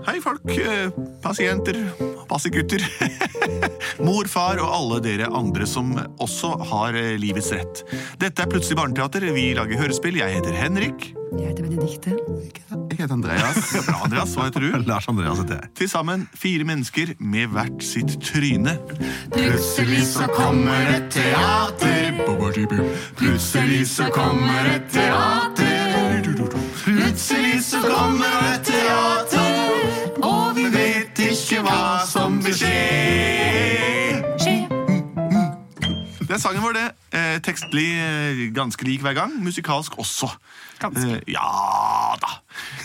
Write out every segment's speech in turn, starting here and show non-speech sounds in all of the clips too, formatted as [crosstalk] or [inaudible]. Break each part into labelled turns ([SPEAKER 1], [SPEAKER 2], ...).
[SPEAKER 1] Hei, folk, eh, pasienter, passegutter, [laughs] mor, far og alle dere andre som også har eh, livets rett. Dette er Plutselig barneteater. Vi lager hørespill. Jeg heter Henrik.
[SPEAKER 2] Jeg heter Benedikte.
[SPEAKER 1] Jeg heter
[SPEAKER 3] [laughs]
[SPEAKER 1] Andreas. Ja, bra, Andreas. Hva heter du?
[SPEAKER 3] Lars Andreas heter jeg.
[SPEAKER 1] Til sammen fire mennesker med hvert sitt tryne.
[SPEAKER 4] Plutselig så kommer et teater. Plutselig så kommer et teater. Plutselig så kommer et teater. Og vi vet ikke hva som vil skje.
[SPEAKER 1] Det er sangen vår, det. Eh, tekstlig eh, ganske lik hver gang. Musikalsk også.
[SPEAKER 2] Ganske.
[SPEAKER 1] Eh, ja da.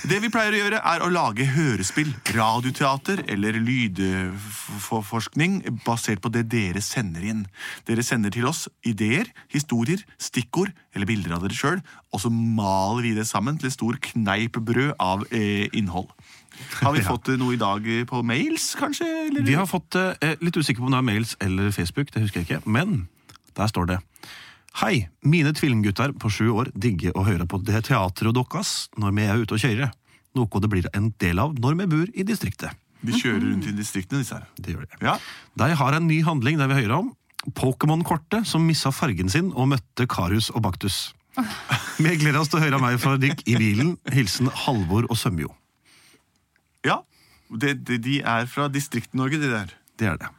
[SPEAKER 1] Det vi pleier å gjøre, er å lage hørespill, radioteater eller lydforskning basert på det dere sender inn. Dere sender til oss ideer, historier, stikkord eller bilder av dere sjøl, og så maler vi det sammen til et stor kneip brød av eh, innhold. Har vi
[SPEAKER 3] [laughs] Ja.
[SPEAKER 1] fått eh, noe i dag eh, på mails, kanskje? Eller?
[SPEAKER 3] Vi har fått eh, litt usikker på om det er mails eller Facebook, det husker jeg ikke, men der står det. Hei, mine tvillinggutter på sju år digger å høre på det teatret deres når vi er ute og kjører. Noe det blir en del av når vi bor i distriktet.
[SPEAKER 1] De kjører rundt i distriktene, disse her.
[SPEAKER 3] Det gjør det.
[SPEAKER 1] Ja.
[SPEAKER 3] De har en ny handling der vi hører om. Pokémon-kortet som missa fargen sin og møtte Karius og
[SPEAKER 1] [laughs]
[SPEAKER 3] Baktus. Vi gleder oss til å høre meg fra Dick i bilen. Hilsen Halvor og Sømjo.
[SPEAKER 1] Ja, det, det, de er fra Distrikt-Norge, de der.
[SPEAKER 3] Det er det.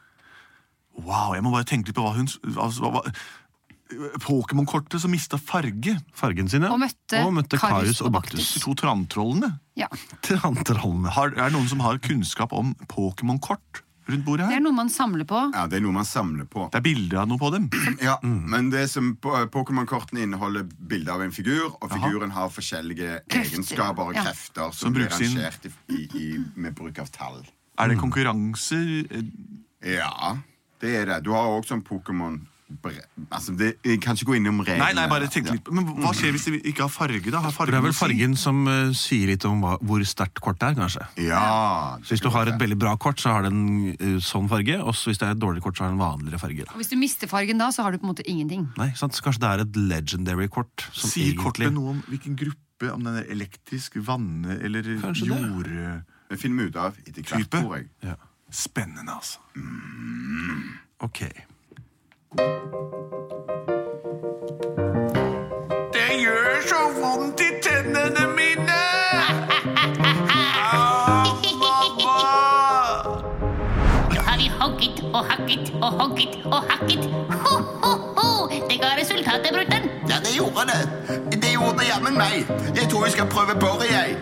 [SPEAKER 1] Wow, jeg må bare tenke litt på hva hun s- hva, hva, hva- Pokémon-kortet som mista farge.
[SPEAKER 3] Fargen sin, ja.
[SPEAKER 2] Og møtte
[SPEAKER 3] og møtte Karius og Baktus.
[SPEAKER 1] De to trantrollene.
[SPEAKER 2] Ja,
[SPEAKER 3] Tranterhallene.
[SPEAKER 1] Har, er det noen som har kunnskap om Pokémon-kort rundt bordet
[SPEAKER 2] Det
[SPEAKER 1] her?
[SPEAKER 2] er noe man samler på.
[SPEAKER 4] Ja, det er noe man samler på.
[SPEAKER 1] Det er bilde av noe på dem.
[SPEAKER 4] Ja,
[SPEAKER 1] Mm.
[SPEAKER 4] Men det som po- Pokémon-kortene inneholder bilde av en figur, og figuren har forskjellige egenskaper og
[SPEAKER 2] ja.
[SPEAKER 4] krefter som,
[SPEAKER 1] Som
[SPEAKER 4] blir
[SPEAKER 1] brukes inn-
[SPEAKER 4] rangert i, i, i, med bruk av tall.
[SPEAKER 1] Er
[SPEAKER 3] Mm.
[SPEAKER 1] det konkurranser eh,
[SPEAKER 4] Ja, det er det. Du har òg sånn Pokémon bre- Altså, det, jeg kan ikke gå innom reglene.
[SPEAKER 1] Nei, nei, bare tenk
[SPEAKER 4] Ja.
[SPEAKER 1] litt. Men hva skjer hvis de ikke har farge, da? Har farge
[SPEAKER 3] For Mm. det er
[SPEAKER 1] noe å
[SPEAKER 3] vel
[SPEAKER 1] si?
[SPEAKER 3] fargen som eh, sier litt om hva, hvor sterkt kortet er, kanskje.
[SPEAKER 4] Ja.
[SPEAKER 3] Så hvis du har et veldig bra kort, så har det en eh, sånn farge. Og så hvis det er et dårlig kort, så har det en vanligere farge. Da.
[SPEAKER 2] Og hvis du mister fargen da, så har du på en måte ingenting.
[SPEAKER 3] Nei, sant? Så kanskje det er et legendary-kort. som
[SPEAKER 1] Sier
[SPEAKER 3] egentlig-
[SPEAKER 1] kortet noe om hvilken gruppe? Om den er elektrisk, vann eller
[SPEAKER 3] Kanskje det.
[SPEAKER 1] jord...
[SPEAKER 4] Det finner vi ut av etter hvert,
[SPEAKER 1] Type.
[SPEAKER 4] tror jeg.
[SPEAKER 3] Ja.
[SPEAKER 1] Spennende, altså.
[SPEAKER 3] Ok.
[SPEAKER 1] Det gjør så vondt i tennene mine!
[SPEAKER 5] har vi hogget og hakket og hogget og hakket. Ho, ho, ho! Det ga resultatet, brutter'n.
[SPEAKER 4] Ja, det gjorde det. Det gjorde det jammen meg. Jeg tror vi skal prøve boret, jeg.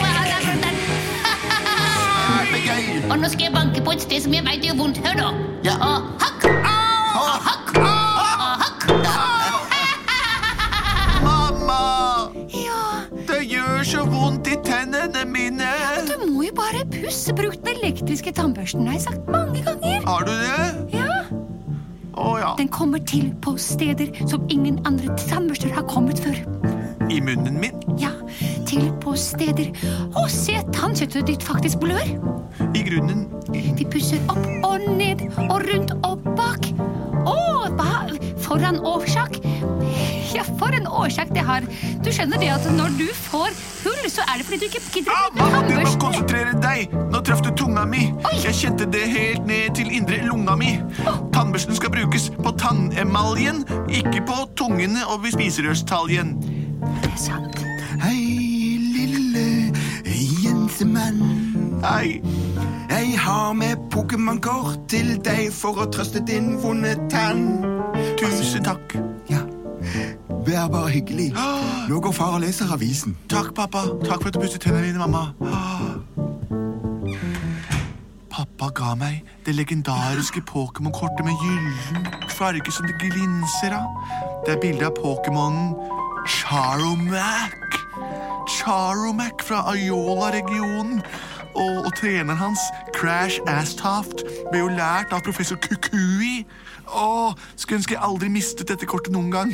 [SPEAKER 5] Hva har det, brutter'n?
[SPEAKER 4] Kjempegøy.
[SPEAKER 5] [laughs] Og nå skal jeg banke på et sted som jeg veit gjør vondt. Hør nå.
[SPEAKER 4] Ja.
[SPEAKER 5] Og hakk og hakk og hakk.
[SPEAKER 1] Mamma!
[SPEAKER 2] Ja,
[SPEAKER 1] Det gjør så vondt i tennene mine!
[SPEAKER 2] du må jo bare pusse. Bruk den elektriske tannbørsten, har jeg sagt mange ganger.
[SPEAKER 1] Har du det?
[SPEAKER 2] Ja.
[SPEAKER 1] Å ja.
[SPEAKER 2] Den kommer til på steder som ingen andre tannbørster har kommet før.
[SPEAKER 1] I munnen min,
[SPEAKER 2] Ja, til på steder. Å, se, tannkjøttet ditt faktisk blør.
[SPEAKER 1] i grunnen.
[SPEAKER 2] Vi pusser opp og ned og rundt og bak. Å, hva? For en årsak. [laughs] Ja, for en årsak det har. Du skjønner det at når du får hull, så er det fordi du ikke gidder
[SPEAKER 1] Ah,
[SPEAKER 2] å bruke
[SPEAKER 1] mamma, du må
[SPEAKER 2] tannbørsten.
[SPEAKER 1] konsentrere deg! Nå traff du tunga mi. Jeg kjente det helt ned til indre lunga mi. Tannbørsten skal brukes på tannemaljen, ikke på tungene og ved spiserørstaljen.
[SPEAKER 2] Det er sant.
[SPEAKER 4] Hei, lille jensemann.
[SPEAKER 1] Hei.
[SPEAKER 4] Jeg har med Pokémon-kort til deg for å trøste din vonde tann.
[SPEAKER 1] Tusen takk.
[SPEAKER 4] Ja, vær bare hyggelig.
[SPEAKER 1] Ah!
[SPEAKER 4] Nå går far og leser avisen.
[SPEAKER 1] Takk, pappa. Takk for at du pusset tennene dine, mamma. Ah. Pappa ga meg det legendariske Pokémon-kortet med gyllen farge som det glinser av. Det er bilde av Pokémonen Charomac. Charomac fra Ayola-regionen. Og, og treneren hans, Crash Astaft, ble jo lært av professor Kukui. Å, skulle ønske jeg aldri mistet dette kortet noen gang.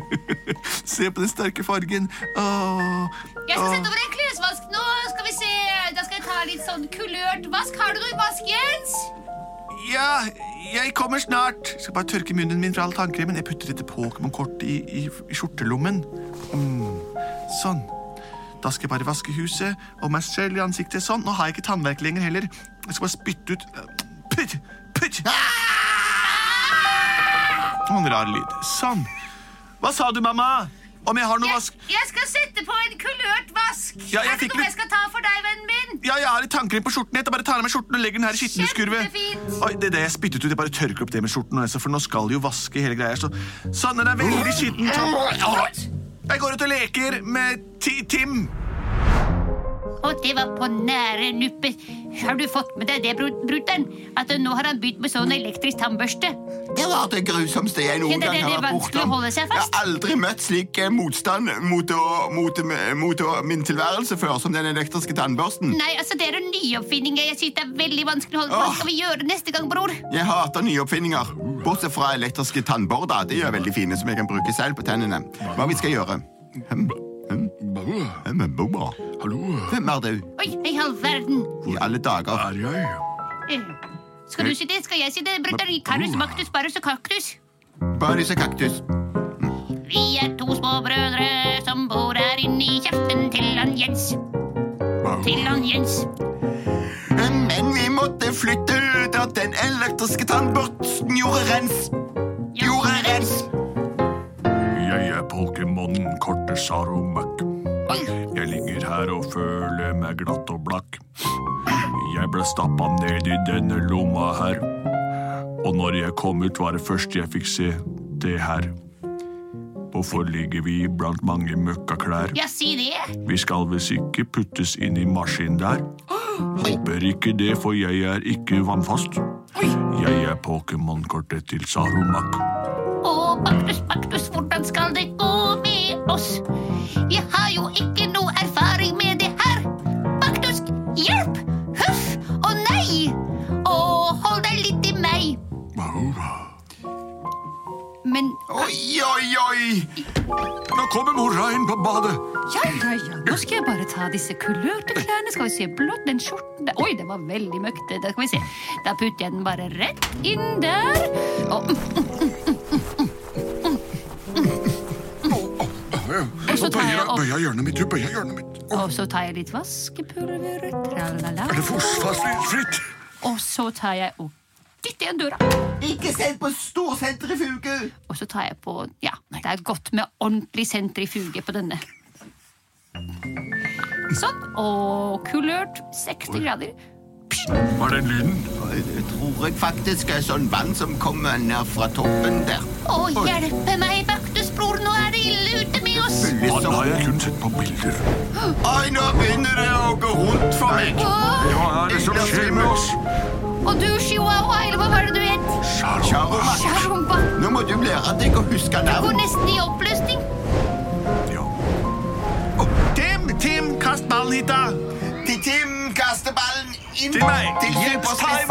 [SPEAKER 1] [laughs] Se på den sterke fargen. Åh.
[SPEAKER 5] Jeg skal sette over en klesvask nå. Skal vi se. Da skal jeg ta litt sånn kulørt vask. Har du noe vask, Jens?
[SPEAKER 1] Ja, jeg kommer snart. Jeg skal bare tørke munnen min fra all tannkremen. Jeg putter dette Pokémon-kortet i, i, i skjortelommen. Mm. Sånn. Da skal jeg bare vaske huset og meg selv i ansiktet. Sånn. Nå har jeg ikke tannverk lenger heller. Jeg skal bare spytte ut eh, Putt! Putt! Noen rar lyd. Sånn. Hva sa du, mamma? Om jeg har noe vask...
[SPEAKER 5] Jeg skal sette på en kulørt vask.
[SPEAKER 1] Ja, jeg
[SPEAKER 5] er det
[SPEAKER 1] fikk
[SPEAKER 5] noe
[SPEAKER 1] litt-
[SPEAKER 5] jeg skal ta for deg, vennen min?
[SPEAKER 1] Ja, jeg har litt tanker på skjorten. Jeg bare tar av meg skjorten og legger den her i skittenhuskurvet.
[SPEAKER 5] Kjempefint.
[SPEAKER 1] Oi, det er det jeg spyttet ut. Jeg bare tørker opp det med skjorten, altså, for nå skal jo vaske hele greia. Så, sånn, den er veldig skitten. Så, jeg går ut og leker med ti Tim.
[SPEAKER 5] Og det var på nære nuppet. Har du fått med deg det, brut- brutter'n? At nå har han begynt med sånn elektrisk tannbørste.
[SPEAKER 6] Det var det grusomste jeg
[SPEAKER 5] Ja,
[SPEAKER 6] noen
[SPEAKER 5] det- det-
[SPEAKER 6] gang
[SPEAKER 5] det
[SPEAKER 6] har
[SPEAKER 5] er
[SPEAKER 6] vært
[SPEAKER 5] vanskelig å
[SPEAKER 6] bortom.
[SPEAKER 5] holde
[SPEAKER 6] Jeg
[SPEAKER 5] seg fast.
[SPEAKER 6] har aldri møtt slik eh, motstand mot, å, mot, mot å, min tilværelse før som den elektriske tannbørsten.
[SPEAKER 5] Nei, altså, det er en nyoppfinning. Jeg synes det er veldig vanskelig å holde på. Hva
[SPEAKER 6] Åh.
[SPEAKER 5] skal vi gjøre neste gang, bror?
[SPEAKER 6] Jeg hater nye oppfinninger, bortsett fra elektriske tannborder. De er veldig fine, som jeg kan bruke selv på tennene. Hva vi skal gjøre? Hm? Hm? Hm, Bubba?
[SPEAKER 7] Hallo,
[SPEAKER 6] Hvem er du?
[SPEAKER 5] Oi, i all verden.
[SPEAKER 6] I alle dager.
[SPEAKER 7] er jeg?
[SPEAKER 5] Eh, Skal du si det? Skal jeg si det, brutter'n? Karus, maktus, barus og kaktus.
[SPEAKER 6] Barnus og kaktus.
[SPEAKER 5] Vi er to små brødre som bor her inne i kjeften til han Jens. Til han Jens.
[SPEAKER 6] Hm, Men vi måtte flytte ut at den elektriske tannbørsten gjorde rens. Gjorde rens.
[SPEAKER 7] Jeg er Pokémon-kortet Saromac.
[SPEAKER 5] Oi,
[SPEAKER 7] Jeg ligger her og føler meg glatt og blakk. Jeg ble stappa ned i denne lomma her. Og når jeg kom ut, var det første jeg fikk se det her. Hvorfor ligger vi blant mange møkkaklær?
[SPEAKER 5] ja, si det.
[SPEAKER 7] Vi skal visst ikke puttes inn i maskinen der. Håper ikke det, for jeg er ikke vannfast. Jeg er Pokémon-kortet til Saromak.
[SPEAKER 5] Å, Baktus, Baktus, hvordan skal det gå med oss? Vi har jo ikke noe erfaring med det her. Baktus, hjelp! Huff! Å nei! Å, hold deg litt i meg. Men
[SPEAKER 6] Oi, oi, oi!
[SPEAKER 7] Nå kommer mora inn på badet.
[SPEAKER 2] Ja, ja, ja. Nå skal jeg bare ta disse kulørte klærne. Skal vi se blått, den skjorten der. Oi, den var veldig møkkete. Da skal vi se. Da putter jeg den bare rett inn der. Og, og så tar jeg opp
[SPEAKER 7] Bøya hjørnet mitt, du, bøya hjørnet mitt.
[SPEAKER 2] Og så tar jeg litt vaskepulver. Tralala.
[SPEAKER 7] Det er forsvarsfritt.
[SPEAKER 2] Og så tar jeg og dytter igjen døra.
[SPEAKER 6] Ikke send på storsentrifuge!
[SPEAKER 2] Og så tar jeg på Ja, det er godt med ordentlig sentrifuge på denne. Sånn. Og kulørt. 60 grader.
[SPEAKER 7] Var den lyden?
[SPEAKER 6] Jeg tror jeg faktisk er sånn vann som kommer ned fra toppen der.
[SPEAKER 5] å, hjelpe meg, Baktus, bror. Nå er det ille ute med oss.
[SPEAKER 7] Han har jeg kun sett på bilder.
[SPEAKER 6] sånn- Oi, nå begynner det å gå rundt for meg.
[SPEAKER 5] Å,
[SPEAKER 7] Hva er det som skjer med oss?
[SPEAKER 5] og du, Chihuahua, eller hva var det du het?
[SPEAKER 6] Charomat,
[SPEAKER 5] Charumba.
[SPEAKER 6] nå må du lære deg å huske
[SPEAKER 5] Går
[SPEAKER 6] navn.
[SPEAKER 5] nesten i oppløsning.
[SPEAKER 7] Ja.
[SPEAKER 1] Tim, Tim, kast ballen hit, da!
[SPEAKER 6] Til Tim kaster ballen inn
[SPEAKER 1] Til meg.
[SPEAKER 6] til
[SPEAKER 1] Hjelp, ta imot.
[SPEAKER 6] superspissen.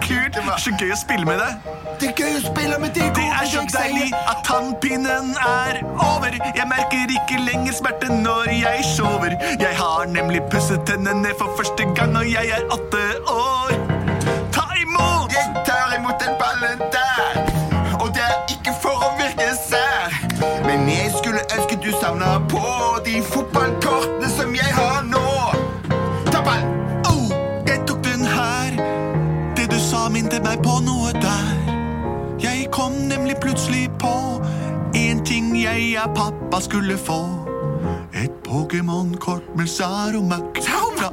[SPEAKER 1] Kult. Så gøy å spille med deg.
[SPEAKER 6] [laughs] Det er gøy å spille med deg.
[SPEAKER 1] Det er så deilig at tannpinnen er over. Jeg merker ikke lenger smerte når jeg sover. Jeg har nemlig pusset tennene for første gang, og jeg er åtte år. Ta imot!
[SPEAKER 6] Jeg tar imot den ballen der. Og det er ikke for å virke sær. Men jeg skulle ønske du savna på de fotballkortene som jeg har nå. Ta ballen.
[SPEAKER 1] Oh, jeg tok den her. Det du sa, minte meg på noe der. Jeg kom nemlig plutselig på en ting jeg av pappa skulle få. Et Pokémon-kort med Saromac fra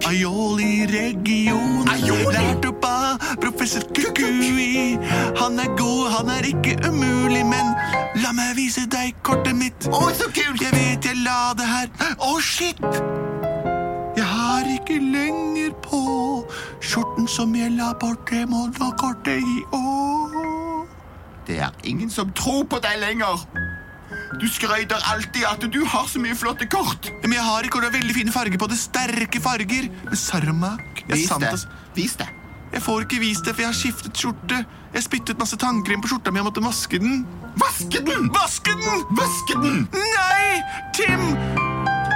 [SPEAKER 1] Aioli-regionen. Lært opp av professor Kukui. Han er god, han er ikke umulig, men la meg vise deg kortet mitt.
[SPEAKER 6] Å, så kult!
[SPEAKER 1] Jeg vet jeg la det her Å, shit! Jeg har ikke lenger på skjorten som jeg la bort til Molde-kortet i år.
[SPEAKER 6] Det er ingen som tror på deg lenger. Du skrøyter alltid at du har så mye flotte kort.
[SPEAKER 1] Men jeg har ikke og det er veldig fine farger på det. Sterke farger. Med Sarmac. Jeg,
[SPEAKER 6] Vis
[SPEAKER 1] sant,
[SPEAKER 6] det.
[SPEAKER 1] altså.
[SPEAKER 6] Vis det.
[SPEAKER 1] jeg får ikke vist det, for jeg har skiftet skjorte. Jeg spyttet masse tannkrem på skjorta mi og måtte vaske den.
[SPEAKER 6] Vaske den!
[SPEAKER 1] Vaske den!
[SPEAKER 6] Vaske den!
[SPEAKER 1] Nei, Tim!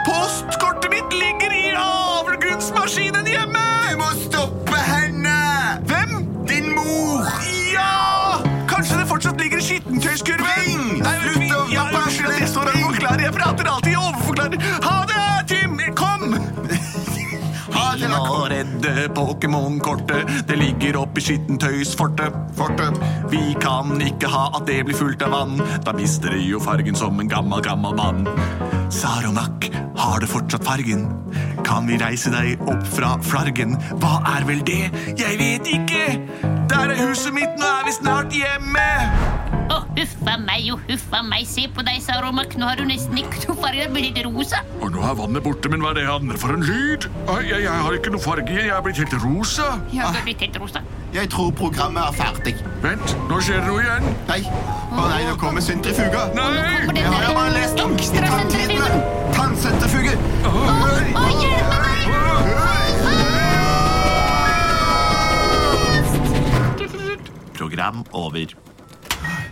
[SPEAKER 1] Postkortet mitt ligger i avlgrunnsmaskinen hjemme!
[SPEAKER 6] Du må stoppe henne!
[SPEAKER 1] Hvem?
[SPEAKER 6] Din mor!
[SPEAKER 1] Ja! Kanskje det fortsatt ligger i
[SPEAKER 8] skittentøyskurven!
[SPEAKER 6] Spring!
[SPEAKER 8] Nei,
[SPEAKER 6] Slutt
[SPEAKER 8] vi-
[SPEAKER 6] å
[SPEAKER 8] ja,
[SPEAKER 6] være
[SPEAKER 8] unnskyld at jeg
[SPEAKER 6] slem.
[SPEAKER 8] står og forklarer. Jeg prater alltid i overforklarer. Ha det, Tim! Kom!
[SPEAKER 6] Ha det,
[SPEAKER 1] La redde Pokémon-kortet, det ligger oppi skittentøysfortet.
[SPEAKER 9] Fortet.
[SPEAKER 1] Vi kan ikke ha at det blir fullt av vann, da mister det jo fargen som en gammel, gammel mann. Saromak, har du fortsatt fargen? Kan vi reise deg opp fra flargen? Hva er vel det? Jeg vet ikke! Der er huset mitt, nå er vi snart hjemme!
[SPEAKER 5] Å, huffa meg og huffa meg. Se på deg, Saromak. Nå har du nesten ikke noe farge. Det blir litt rosa.
[SPEAKER 1] Og nå er vannet borte, men hva er det andre for en lyd? Jeg, har ikke noe farge, jeg er blitt helt rosa.
[SPEAKER 5] Ja, det blir helt rosa.
[SPEAKER 6] Jeg tror programmet er ferdig.
[SPEAKER 1] Vent, nå skjer det noe igjen.
[SPEAKER 6] Nei, å nei, nå kommer sentrifuga.
[SPEAKER 1] Nei!
[SPEAKER 6] Jeg har jo bare lest om
[SPEAKER 2] Ekstra
[SPEAKER 6] tannsentrifuge. Tannsentrifuge.
[SPEAKER 5] Å, hjelp meg!
[SPEAKER 1] Program over.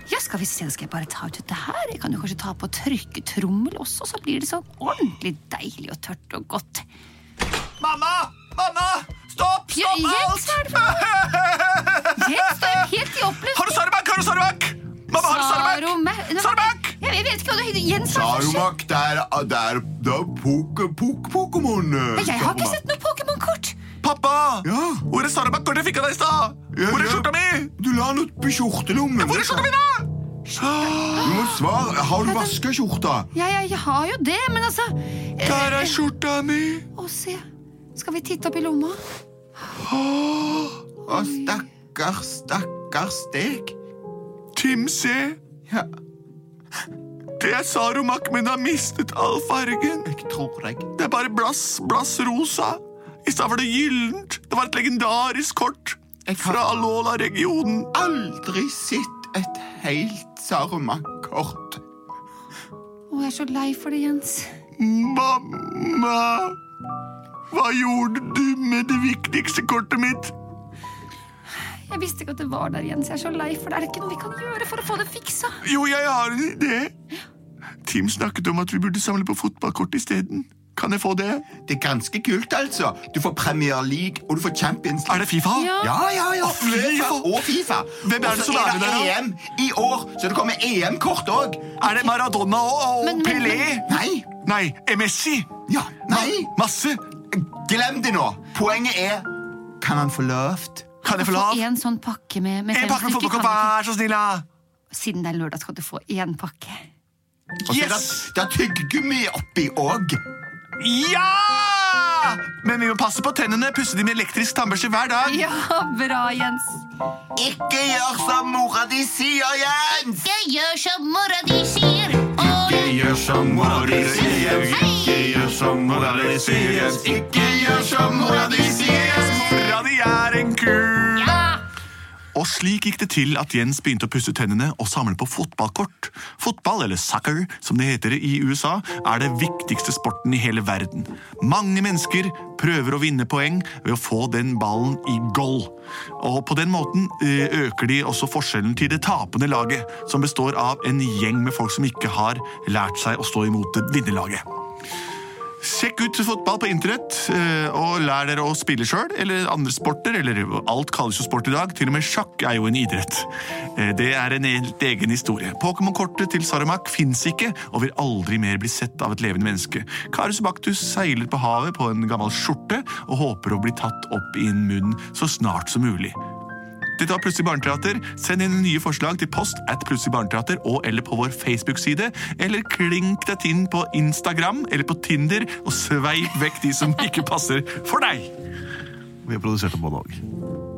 [SPEAKER 2] Ja, skal vi se, skal jeg bare ta ut dette her? Jeg kan jo kanskje ta på tørketrommel også, så blir det sånn ordentlig deilig og tørt og godt.
[SPEAKER 6] Mamma! Mamma! Stopp!
[SPEAKER 2] Ja,
[SPEAKER 6] Stopp
[SPEAKER 2] Jens
[SPEAKER 6] alt!
[SPEAKER 2] er Jens er jo helt i oppløsning.
[SPEAKER 6] Har du Sarmak? Har du Sarmak? Mamma, har du Sarmak?
[SPEAKER 2] Sarmak!
[SPEAKER 6] Sarmak!
[SPEAKER 2] Jeg, jeg vet ikke hva du heter. Jens hva er det som skjer?
[SPEAKER 9] Sarumak, der, der, der poke, poke, Pokémon. eh,
[SPEAKER 2] Jeg har
[SPEAKER 9] Saruman.
[SPEAKER 2] ikke sett noe Pokémon-kort.
[SPEAKER 1] Pappa!
[SPEAKER 9] Ja,
[SPEAKER 1] Hvor er Sarabakkortet jeg fikk av deg i stad?
[SPEAKER 9] Ja,
[SPEAKER 1] Hvor er
[SPEAKER 9] ja.
[SPEAKER 1] skjorta mi?
[SPEAKER 9] du la den opp i skjortelommen.
[SPEAKER 1] Hvor
[SPEAKER 6] liksom.
[SPEAKER 1] er skjorta mi, da?
[SPEAKER 9] Du må svare. Har du vasket skjorta?
[SPEAKER 2] Ja, ja, jeg har jo det, men altså eh,
[SPEAKER 1] Der er skjorta mi.
[SPEAKER 2] Å, se. Skal vi titte opp i lomma?
[SPEAKER 6] Å, stakkars, stakkars deg.
[SPEAKER 1] Tim C.
[SPEAKER 6] Ja.
[SPEAKER 1] Det er Saromak, men har mistet all fargen.
[SPEAKER 6] Jeg tror deg.
[SPEAKER 1] Det er bare blass, blass rosa. I stedet var det gyllent. Det var et legendarisk kort
[SPEAKER 6] Jeg har-
[SPEAKER 1] fra Alola-regionen.
[SPEAKER 6] Aldri sett et helt Sarumak-kort.
[SPEAKER 2] Å, jeg er så lei for det, Jens.
[SPEAKER 1] Mamma! Hva gjorde du med det viktigste kortet mitt?
[SPEAKER 2] Jeg visste ikke at det var der, Jens. Jeg er så lei for det. Er det ikke noe vi kan gjøre for å få det fiksa?
[SPEAKER 1] Jo, jeg har en idé. Tim snakket om at vi burde samle på fotballkort isteden. Kan jeg få det?
[SPEAKER 6] Det er ganske kult, altså. Du får Premier League, og du får Champions League.
[SPEAKER 1] Er det Fifa?
[SPEAKER 2] Ja.
[SPEAKER 6] Ja, ja, ja.
[SPEAKER 1] FIFA.
[SPEAKER 6] FIFA og FIFA.
[SPEAKER 1] Hvem er det
[SPEAKER 6] Og så
[SPEAKER 1] som er med der, da?
[SPEAKER 6] EM i år, så det kommer EM-kort òg.
[SPEAKER 1] Er det Maradona og, og
[SPEAKER 2] Men- men-
[SPEAKER 1] Pelé?
[SPEAKER 6] Nei.
[SPEAKER 1] Nei, Messi?
[SPEAKER 6] Ja, nei.
[SPEAKER 1] Masse?
[SPEAKER 6] Glem det nå. Poenget er Kan han få lovt?
[SPEAKER 1] Kan jeg få
[SPEAKER 2] Få
[SPEAKER 1] lov?
[SPEAKER 2] en sånn pakke med, med
[SPEAKER 1] En
[SPEAKER 2] fem
[SPEAKER 1] pakke med
[SPEAKER 2] stykker,
[SPEAKER 1] fotballkort,
[SPEAKER 2] kan
[SPEAKER 1] vær så snill! da.
[SPEAKER 2] du ikke- Siden det er lørdag, skal du få én pakke. [laughs]
[SPEAKER 6] Og så er det,
[SPEAKER 1] Yes!
[SPEAKER 6] det er tyggegummi oppi òg.
[SPEAKER 1] Ja! Men vi må passe på tennene. Pusse de med elektrisk tannbørste hver dag.
[SPEAKER 2] Ja, bra, Jens.
[SPEAKER 6] Ikke gjør som mora di sier, Jens!
[SPEAKER 5] Ikke gjør som mora di sier. Å,
[SPEAKER 9] gjør som mora di sier.
[SPEAKER 5] Ikke
[SPEAKER 9] gjør som mora di sier. Ikke gjør som mora di sier.
[SPEAKER 1] Mora di er en ku!
[SPEAKER 5] ja.
[SPEAKER 1] Og slik gikk det til at Jens begynte å pusse tennene og samle på fotballkort. Fotball, eller soccer, som det heter i USA, er det viktigste sporten i hele verden. Mange mennesker prøver å vinne poeng ved å få den ballen i goal. Og på den måten eh, øker de også forskjellen til det tapende laget, som består av en gjeng med folk som ikke har lært seg å stå imot det vinnerlaget. Sjekk ut fotball på internett, eh, og lær dere å spille sjøl, eller andre sporter, eller alt kalles jo sport i dag. Til og med sjakk er jo en idrett. Eh, Det er en helt egen historie. Pokémon-kortet til Sarumak fins ikke, og vil aldri mer bli sett av et levende menneske. Karus Baktus seiler på havet på en gammel skjorte, og håper å bli tatt opp i en munn så snart som mulig. Dette var Plutselig barneteater. Send inn nye forslag til post at Plutselig barneteater og eller på vår Facebook-side. Eller klink deg inn på Instagram eller på Tinder og sveip vekk de som ikke passer for deg.
[SPEAKER 3] Vi har produsert av både og.